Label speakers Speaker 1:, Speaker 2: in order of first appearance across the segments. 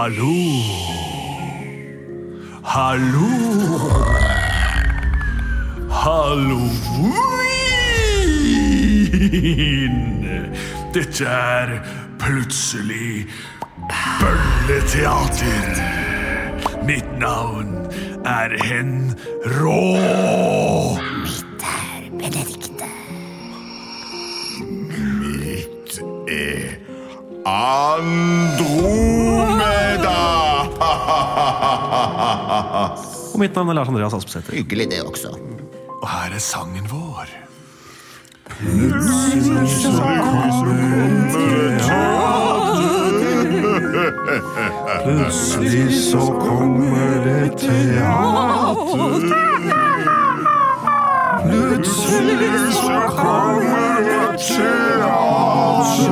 Speaker 1: Hallo. Hallo. Halloween. Dette er plutselig bølleteater. Mitt navn er Hen Rå.
Speaker 2: Benedikte.
Speaker 3: Mitt er Andromeda!
Speaker 4: Og mitt navn er Lars Andreas Aspesæter.
Speaker 2: Hyggelig det også.
Speaker 1: Og her er sangen vår.
Speaker 5: Plutselig så kommer det teater. Plutselig så kommer det teater.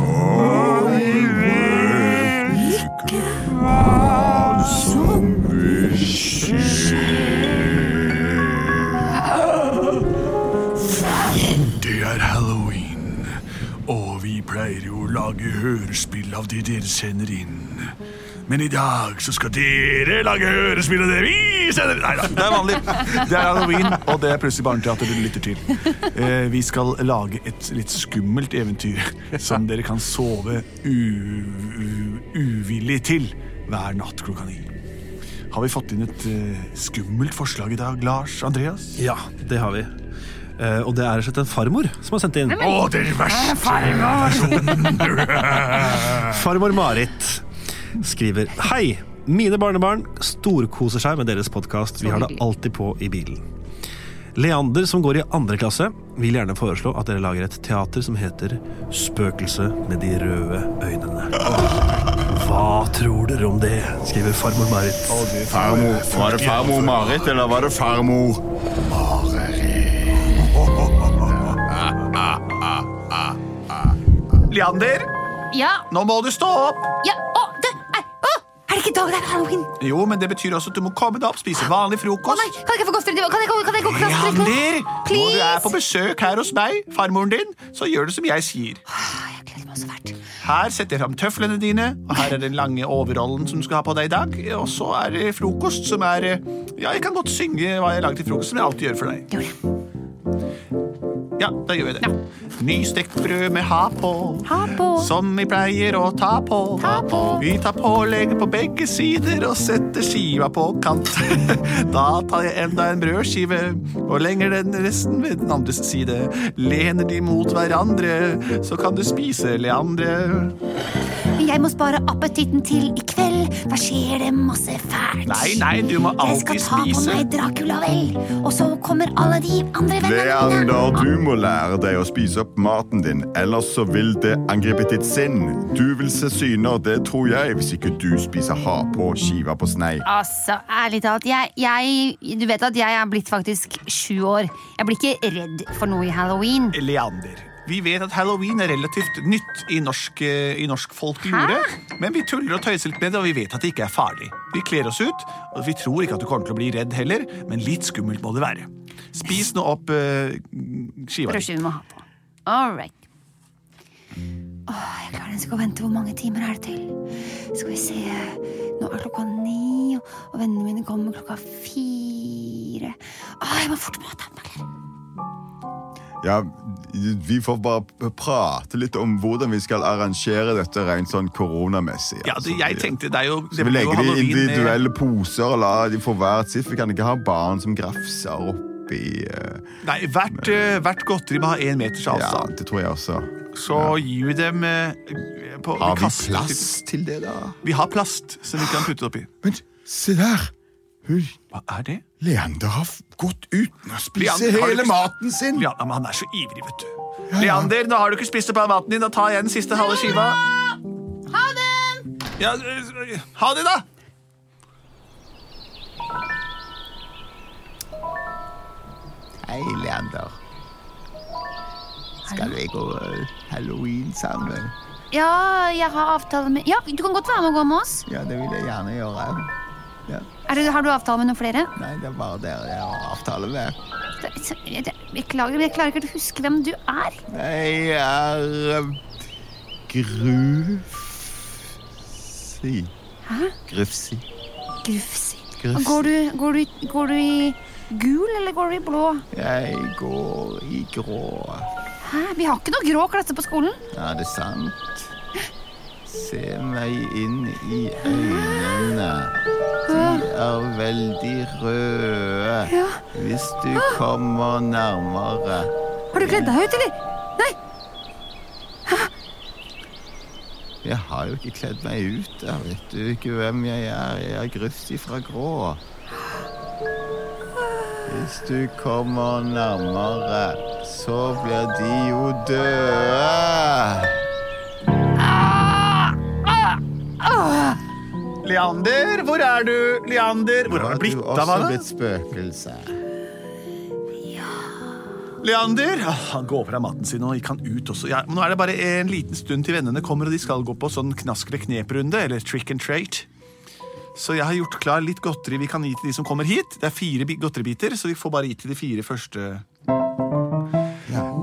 Speaker 5: Og vi vet ikke hva som vil skje.
Speaker 1: Det er halloween, og vi pleier jo å lage hørespill av det dere sender inn. Men i dag så skal dere lage hørespill av det vi sender Nei da.
Speaker 6: Det er vanlig. Det er halloween, og det er plutselig barneteater du lytter til. Eh, vi skal lage et litt skummelt eventyr som dere kan sove u u uvillig til hver natt klokka ni. Har vi fått inn et eh, skummelt forslag i dag, Lars Andreas?
Speaker 4: Ja, det har vi. Eh, og det er rett og slett en farmor som har sendt inn.
Speaker 1: Å, den verste personen.
Speaker 4: Farmor Marit skriver Hei, mine barnebarn storkoser seg med deres podkast. Vi har det alltid på i bilen. Leander, som går i andre klasse, vil gjerne foreslå at dere lager et teater som heter Spøkelset med de røde øynene. Hva tror dere om det? skriver farmor Marit.
Speaker 3: Farmor. Var det farmor Marit, eller var det farmor
Speaker 6: Leander,
Speaker 7: Ja,
Speaker 6: nå må du stå opp!
Speaker 7: ja, å, det er Å, er det ikke i dag det er halloween?
Speaker 6: Jo, men det betyr også at du må komme deg opp, spise vanlig
Speaker 7: Å nei,
Speaker 6: frokost.
Speaker 7: kan jeg ikke få godteri? til- Kan jeg, kan jeg gå klatre
Speaker 6: Leander, når
Speaker 7: nå?
Speaker 6: du er på
Speaker 7: Please!
Speaker 6: besøk her hos meg, farmoren din, så gjør du som jeg sier.
Speaker 7: Å, Ah, jeg gleder meg så fælt.
Speaker 6: Her setter jeg fram tøflene dine, og her er den lange overrollen som du skal ha på deg i dag. Og så er det frokost, som er eh, Ja, jeg kan godt synge hva jeg lager til frokost, som jeg alltid gjør for deg.
Speaker 7: Gjør det.
Speaker 6: Ja, da gjør vi det. Nystekt brød med ha på,
Speaker 7: Ha på.
Speaker 6: som vi pleier å ta på.
Speaker 7: Ta på.
Speaker 6: Vi tar pålegget på begge sider og setter skiva på kant. Da tar jeg enda en brødskive og lenger den resten ved den andres side. Lener de mot hverandre, så kan du spise, Leandre.
Speaker 7: Men jeg må spare appetitten til i kveld. Da skjer det masse fælt.
Speaker 6: Nei, nei, du må
Speaker 7: Jeg
Speaker 6: alltid
Speaker 7: skal ta på
Speaker 6: spise.
Speaker 7: meg Dracula, vel. Og så kommer alle de andre vennene mine.
Speaker 3: Leander, du må lære deg å spise opp maten din, ellers så vil det angripe ditt sinn. Du vil se syner, det tror jeg, hvis ikke du spiser ha på skiva på snei.
Speaker 7: Altså, ærlig talt, jeg, jeg, du vet at jeg er blitt faktisk sju år. Jeg blir ikke redd for noe i halloween.
Speaker 6: Leander. Vi vet at halloween er relativt nytt i norsk, eh, i norsk folklore. Men vi tuller og tøyser litt med det, og vi vet at det ikke er farlig. Vi kler oss ut, og vi tror ikke at du kommer til å bli redd heller, men litt skummelt må det være. Spis nå opp eh, skiva di.
Speaker 7: Brødskive vi må ha på. All right. Åh, jeg klarer nesten ikke å vente. Hvor mange timer er det til? Skal vi se Nå er klokka ni, og- og vennene mine kommer klokka fire. Åh, jeg må fort på ta på meg klær.
Speaker 3: Ja, vi får bare prate litt om hvordan vi skal arrangere dette rent sånn koronamessig. altså.
Speaker 6: Ja, det, jeg tenkte det er jo det
Speaker 3: Vi
Speaker 6: blir jo
Speaker 3: legger de i
Speaker 6: halloween eh, med-
Speaker 3: individuelle poser og lar de få hvert sitt. Vi kan ikke ha barn som grafser oppi eh,
Speaker 6: Nei, hvert, eh, hvert godteri må ha én meters
Speaker 3: Ja,
Speaker 6: avstand.
Speaker 3: det tror jeg også.
Speaker 6: Så gir Altså, vi dem eh, på
Speaker 3: Har vi
Speaker 6: kaster-
Speaker 3: plass til det, da?
Speaker 6: Vi har plast som vi kan putte oppi.
Speaker 3: Vent, se der! Hun
Speaker 6: Hva er det?
Speaker 3: Leander har f- gått uten å spise
Speaker 6: Leander, har du
Speaker 3: hele
Speaker 6: ikke-
Speaker 3: maten sin.
Speaker 6: Leander, men han er så ivrig, vet du. Leander, nå har du ikke spist opp all maten din. Da tar jeg den siste halve skiva.
Speaker 7: Ha det!
Speaker 6: Ja, øh, ha det, da!
Speaker 2: Hei, Leander. Skal vi gå eh, halloween sammen?
Speaker 7: Ja, jeg har avtale med Ja, du kan godt være med og gå med oss.
Speaker 2: Ja, det vil jeg gjerne gjøre.
Speaker 7: Er det, har du avtale med noen flere?
Speaker 2: Nei, det er bare dere jeg har avtale med.
Speaker 7: Det- Jeg jeg klager, men jeg klarer ikke å huske hvem du er.
Speaker 2: um, Jeg er eh, Gru... Grufsi.
Speaker 7: Hæ?
Speaker 2: Grufsi.
Speaker 7: Grufsi.
Speaker 2: Grufsi.
Speaker 7: Går du, går, du, går du i gul, eller går du i blå?
Speaker 2: Jeg går i grå.
Speaker 7: Hæ? Vi har ikke noe grå klasse på skolen.
Speaker 2: Er det sant? Se meg inn i øynene. De er veldig røde.
Speaker 7: Ja.
Speaker 2: Hvis du kommer nærmere
Speaker 7: Har du kledd deg ut, eller? Nei,
Speaker 2: Jeg har jo ikke kledd meg ut. da. Vet du ikke hvem jeg er? Jeg er Grufsi fra Grå. Hvis du kommer nærmere, så blir de jo døde.
Speaker 6: Leander, hvor er du? Leander, hvor har du blitt
Speaker 2: Du
Speaker 6: av
Speaker 2: også
Speaker 6: henne?
Speaker 2: blitt spøkelse.
Speaker 6: Leander! Ah, Han går fra maten sin og gikk han ut også. Ja, men nå er det bare en liten stund til vennene kommer, og de skal gå på sånn knask eller knep-runde, eller trick and treat. Så jeg har gjort klar litt godteri vi kan gi til de som kommer hit. Det er fire bi- godteribiter, så vi får bare gi til de fire første.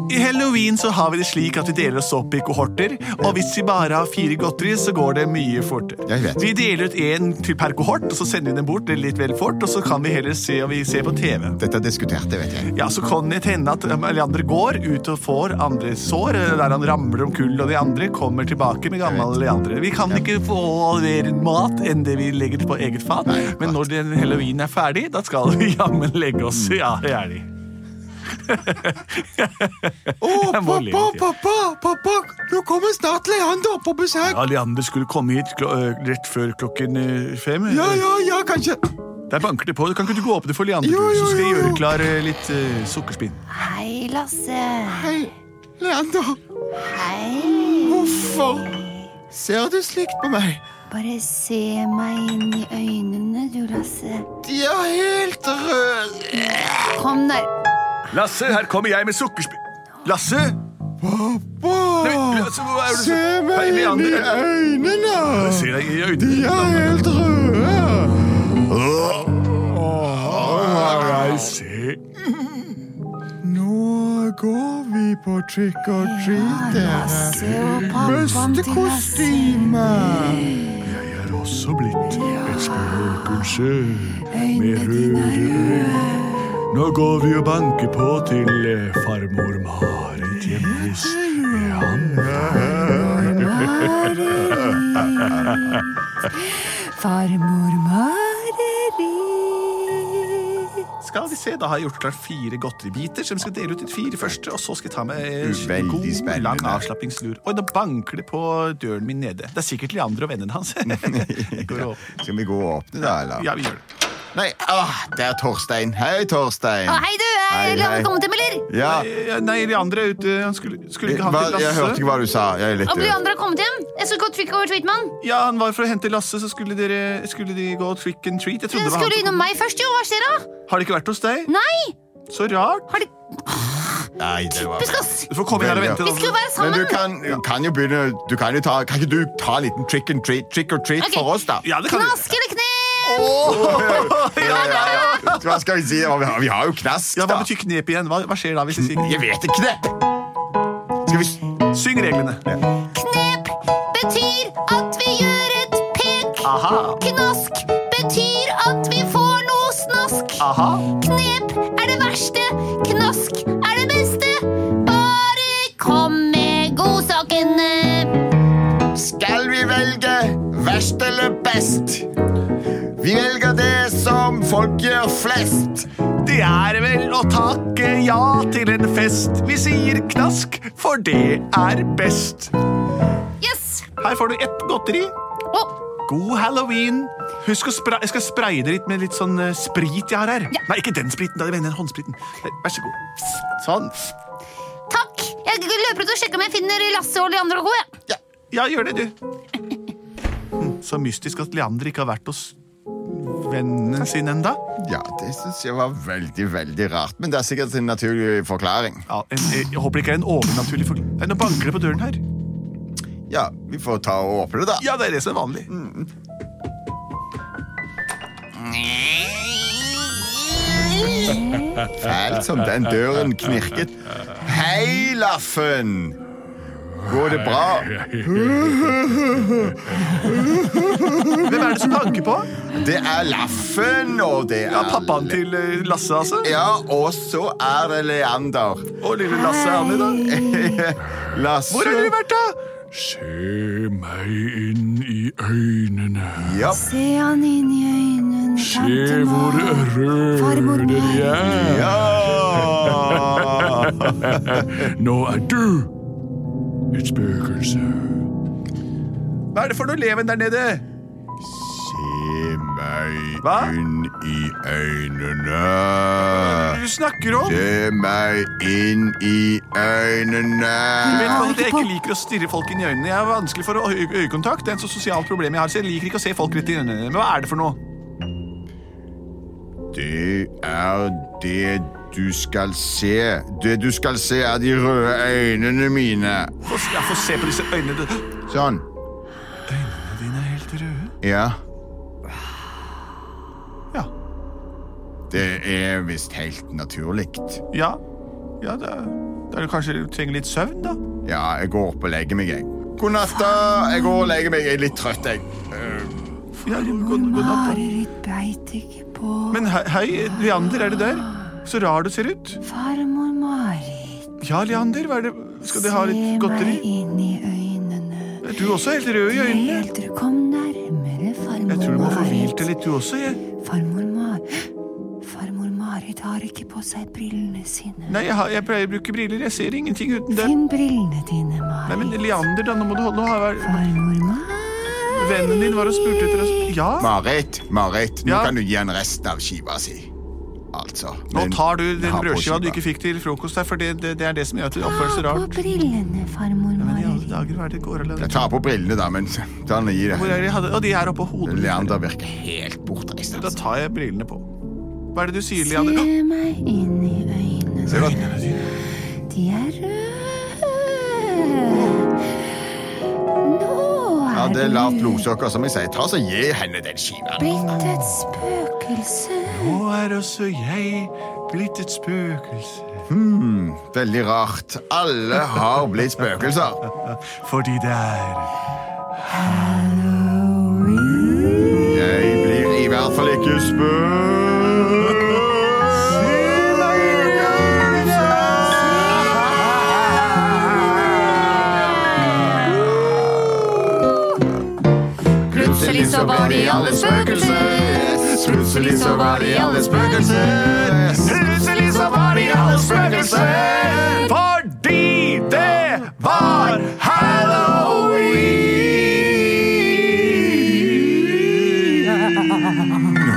Speaker 6: I halloween så har vi det slik at vi deler oss opp i kohorter, og hvis vi bare har fire godteri, så går det mye fortere.
Speaker 2: Jeg vet.
Speaker 6: Vi deler ut én til per kohort, og så sender vi den bort litt vel fort, og så kan vi heller se om vi ser på TV.
Speaker 2: Dette er diskutert, det vet jeg.
Speaker 6: Ja, så kan det hende at um, Leander går ut og får andre sår, eh, der han ramler om kull, og de andre kommer tilbake med gammel Leandre. Vi kan ikke få mer mat enn det vi legger på eget fat, men når den halloween er ferdig, da skal vi jammen legge oss. Ja, det er de. Jeg må le litt, ja.
Speaker 5: pappa, pappa, nå kommer snart Leander på besøk.
Speaker 6: Ja, Leander skulle komme hit klo øh, rett før klokken øh, fem.
Speaker 5: Ja, ja, ja, kanskje.
Speaker 6: Der banker det på. Kan ikke du gå og åpne for Leander,
Speaker 5: Jo,
Speaker 6: du,
Speaker 5: jo,
Speaker 6: så skal jeg
Speaker 5: jo, jo.
Speaker 6: gjøre klar øh, litt øh, sukkerspinn?
Speaker 7: Hei, Lasse.
Speaker 5: Hei, Leander,
Speaker 7: Hei.
Speaker 5: hvorfor ser du slikt på meg?
Speaker 7: Bare se meg inn i øynene, du, Lasse.
Speaker 5: De er helt røde.
Speaker 7: Kom der.
Speaker 6: Lasse, her kommer jeg med sukkerspinn. Lasse? Nei,
Speaker 5: Åh,
Speaker 6: Lasse, hva er det du-
Speaker 5: se
Speaker 6: Nei,
Speaker 5: meg inn i
Speaker 6: Leander,
Speaker 5: øynene.
Speaker 6: jeg ser deg i
Speaker 5: De
Speaker 6: øynene.
Speaker 5: er helt røde.
Speaker 6: Jeg ser
Speaker 5: Nå går vi på trick or treat.
Speaker 7: Lasse og pappaen til Lasse.
Speaker 5: Bestekostyme.
Speaker 1: Jeg er også blitt et spøkelse med
Speaker 7: Øynene dine
Speaker 1: røde
Speaker 7: er
Speaker 1: øyne. Nå går vi og banker på til eh, farmor Marit hjemme hos Leander.
Speaker 7: Farmor Marit.
Speaker 6: Skal vi se, Da har jeg gjort klart fire godteribiter som jeg skal dele ut til de fire første. Og så skal jeg ta med en
Speaker 3: Veldig
Speaker 6: god,
Speaker 3: spennende.
Speaker 6: lang avslappingslur. Oi, nå banker det på døren min nede. Det er sikkert Leander og vennene hans. Jeg går og åpner.
Speaker 3: Skal vi gå og åpne, da? eller?
Speaker 6: ja, vi gjør det.
Speaker 3: Nei, ah, det er Torstein. Hei, Torstein.
Speaker 7: Å, hei, du.
Speaker 3: Hei,
Speaker 7: Hei,
Speaker 3: hei.
Speaker 7: Lasse kommer til, eller?
Speaker 3: Ja,
Speaker 6: Eh, Nei, Leander er ute. Han skulle, skulle
Speaker 5: Eh,
Speaker 6: ikke han
Speaker 3: hva,
Speaker 6: til
Speaker 3: jeg hørte
Speaker 6: Lasse?
Speaker 3: ikke hva du sa. Jeg er litt eh,
Speaker 7: Om de
Speaker 3: død.
Speaker 7: andre har kommet hjem? Jeg skal gå trick over treat, mann.
Speaker 6: Ja, Han var for å hente Lasse, så skulle, dere, skulle de gå trick and treat. Jeg trodde det
Speaker 7: Den
Speaker 6: var
Speaker 7: skulle
Speaker 6: han som
Speaker 7: innom meg først, jo. Hva skjer da?
Speaker 6: Har de ikke vært hos deg?
Speaker 7: Nei!
Speaker 6: Så rart.
Speaker 7: Har de
Speaker 3: Nei, det var
Speaker 7: Husk oss!
Speaker 6: Du får komme inn her og
Speaker 3: Veldig
Speaker 6: vente.
Speaker 7: Vi
Speaker 6: da.
Speaker 7: skulle jo være
Speaker 3: Men
Speaker 7: sammen.
Speaker 3: du kan, kan jo begynne Du kan jo ta Kan ikke du ta en liten trick and treat, trick or treat
Speaker 7: Ok.
Speaker 3: for oss, da?
Speaker 6: Ja, det kan du.
Speaker 7: Knask eller knep?
Speaker 3: Ja, ja, ja. Hva skal vi si? Vi har, vi har jo knask,
Speaker 6: Ja, Hva
Speaker 3: da.
Speaker 6: betyr knep igjen? Hva, hva skjer da hvis jeg sier
Speaker 3: Jeg vet ikke det. Skal vi s-
Speaker 6: Syng reglene.
Speaker 7: Knep betyr at vi gjør et pek.
Speaker 6: Aha.
Speaker 7: Knask betyr at vi får noe snask.
Speaker 6: Aha.
Speaker 7: Knep er det verste, knask er det beste. Bare kom med godsakene.
Speaker 3: Skal vi velge verst eller best? Vi velger det som folk gjør flest.
Speaker 6: Det er vel å takke ja til en fest. Vi sier knask, for det er best.
Speaker 7: Yes!
Speaker 6: Her får du ett godteri.
Speaker 7: Å,
Speaker 6: God halloween. Husk å spra jeg skal spraye det litt med litt sånn eh, sprit jeg har her.
Speaker 7: Ja.
Speaker 6: Nei, ikke den spriten. da, jeg mener håndspriten. Eh, Vær så god. Sånn.
Speaker 7: takk! Jeg løper ut og sjekker om jeg finner Lasse og Leander og co. jeg.
Speaker 6: Ja, gjør det, du. Hm, Så mystisk at Leander ikke har vært hos vennene sine enda.
Speaker 3: Ja, det syns jeg var veldig, veldig rart. Men det er sikkert en naturlig forklaring.
Speaker 6: Ja, en, eh, jeg, jeg håper det ikke er en overnaturlig forklaring. Nei, Nå banker det på døren her.
Speaker 3: Ja, vi får ta og åpne det, da.
Speaker 6: Ja, det er det som er vanlig.
Speaker 3: Fælt som sånn, den døren knirket. Hei, Laffen! Går det bra?
Speaker 6: Hvem er det som banker på?
Speaker 3: Det er Laffen, og det er
Speaker 6: Ja, Pappaen til eh, Lasse, altså.
Speaker 3: Ja, og så er det Leander.
Speaker 6: Og lille Lasse er han i dag.
Speaker 3: Lasse.
Speaker 6: Hvor har dere vært, da?
Speaker 1: Se meg inn i øynene.
Speaker 3: Ja,
Speaker 7: Se han inn i øynene,
Speaker 1: Se
Speaker 7: tante
Speaker 1: hvor
Speaker 7: Maren. Farmor
Speaker 1: røde de er.
Speaker 3: ja.
Speaker 1: Nå er du et spøkelse.
Speaker 6: Hva er det for noe leven der nede?
Speaker 3: Se meg
Speaker 6: Hva?
Speaker 3: inn i øynene.
Speaker 6: Du snakker om?
Speaker 3: Se meg inn i
Speaker 6: Du vet
Speaker 3: øynene.
Speaker 6: hva, at Jeg ikke liker å stirre folk inn i øynene. Jeg er vanskelig for å ha øy øyekontakt. Det er et så sosialt problem jeg har, så jeg liker ikke å se folk rett i øynene. Men hva er det for noe?
Speaker 3: Det er det du skal se. Det du skal se, er de røde øynene mine.
Speaker 6: Få, s- ja, få se på disse øynene. du-
Speaker 3: Sånn.
Speaker 6: Dine er helt røde.
Speaker 3: Ja.
Speaker 6: Ja.
Speaker 3: Det er visst helt naturlig.
Speaker 6: Ja, ja da, da er det kanskje du trenger litt søvn, da.
Speaker 3: Ja, jeg går opp og legger meg, jeg. God natt, da. Jeg går og legger meg. Jeg er litt trøtt, jeg. Eh,
Speaker 6: Ja, god, god natt. da.
Speaker 7: Mareritt beit ikke på.
Speaker 6: Men hei, hei, Leander, er det der? Så rar du ser ut.
Speaker 7: Farmor Marit,
Speaker 6: Ja, Leander, hva er det? skal du ha litt
Speaker 7: se
Speaker 6: godteri?
Speaker 7: meg inn i øynene.
Speaker 6: Er du også helt rød i øynene?
Speaker 7: Helt til du kom nærmere, farmor
Speaker 6: Jeg tror du må få hvilt
Speaker 7: Marit.
Speaker 6: deg litt, du også. Jeg.
Speaker 7: Farmor Marit. Farmor Marit har ikke på seg brillene sine.
Speaker 6: Nei, jeg, har, jeg pleier å bruke briller. Jeg ser ingenting uten dem.
Speaker 7: Finn brillene dine,
Speaker 6: Nei, men
Speaker 7: Marit.
Speaker 6: Leander, da, nå må du holde nå har jeg-
Speaker 7: Farmor Marit.
Speaker 6: Vennen din var og spurte etter oss. Ja,
Speaker 3: Marit, Marit, nå
Speaker 6: Ja?
Speaker 3: kan du gi henne resten av skiva si. Altså.
Speaker 6: nå
Speaker 3: den-
Speaker 6: tar du den
Speaker 3: ha på
Speaker 6: brødskiva du
Speaker 3: skiva.
Speaker 6: ikke fikk til frokost her, for det, det, det er det som gjør at det oppføres
Speaker 7: Ta på
Speaker 6: rart.
Speaker 7: brillene, farmor
Speaker 6: Men i alle
Speaker 7: Marit.
Speaker 6: dager, hva er det går
Speaker 3: Jeg
Speaker 6: eller?
Speaker 3: tar på brillene, da, men ta den og gi
Speaker 6: Hvor
Speaker 3: det.
Speaker 6: er de? Hadde- Å, de er oppå hodet.
Speaker 3: Leander virker helt bortreist.
Speaker 6: Da
Speaker 3: Altså.
Speaker 6: tar jeg brillene på. Hva er det du sier,
Speaker 7: Se
Speaker 6: Leander? Å,
Speaker 7: meg inn i øynene.
Speaker 3: Det var-
Speaker 7: De er røde. Nå
Speaker 3: Ja,
Speaker 7: er
Speaker 3: det er lavt
Speaker 7: du
Speaker 3: blodsukker, som jeg sier. Ta så Gi henne den skiva.
Speaker 7: blitt et spøkelse.
Speaker 6: Nå er også jeg blitt et spøkelse.
Speaker 3: Veldig rart. Alle har blitt spøkelser.
Speaker 6: Fordi det er
Speaker 3: Jeg blir i hvert fall ikke
Speaker 7: Ah!
Speaker 3: Plutselig så var de alle spøkelser. Plutselig så var de alle spøkelser.
Speaker 6: Plutselig så var de alle spøkelser. Fordi det var halloween!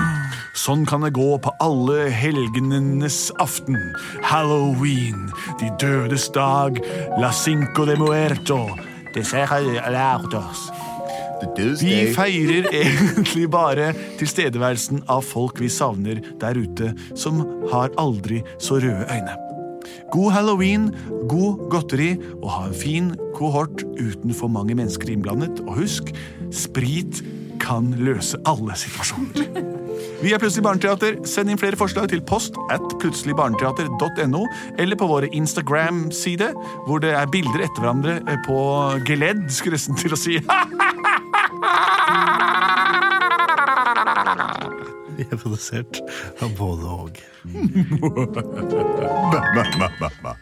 Speaker 1: Sånn kan det gå på alle helgenenes aften. Halloween, de dødes dag, la cinco de muerto. Det ser jeg lært oss.
Speaker 6: Vi feirer egentlig bare tilstedeværelsen av folk vi savner der ute, som har aldri så røde øyne. God halloween, god godteri, og ha en fin kohort uten for mange mennesker innblandet. Og husk, sprit kan løse alle situasjoner. Vi er Plutselig barneteater. Send inn flere forslag til post at plutseligbarneteater.no, eller på våre Instagram-side, hvor det er bilder etter hverandre eh, på geledd, skulle jeg nesten til å si.
Speaker 4: Vi er produsert av både og.
Speaker 3: Ma, ma, ma, ma.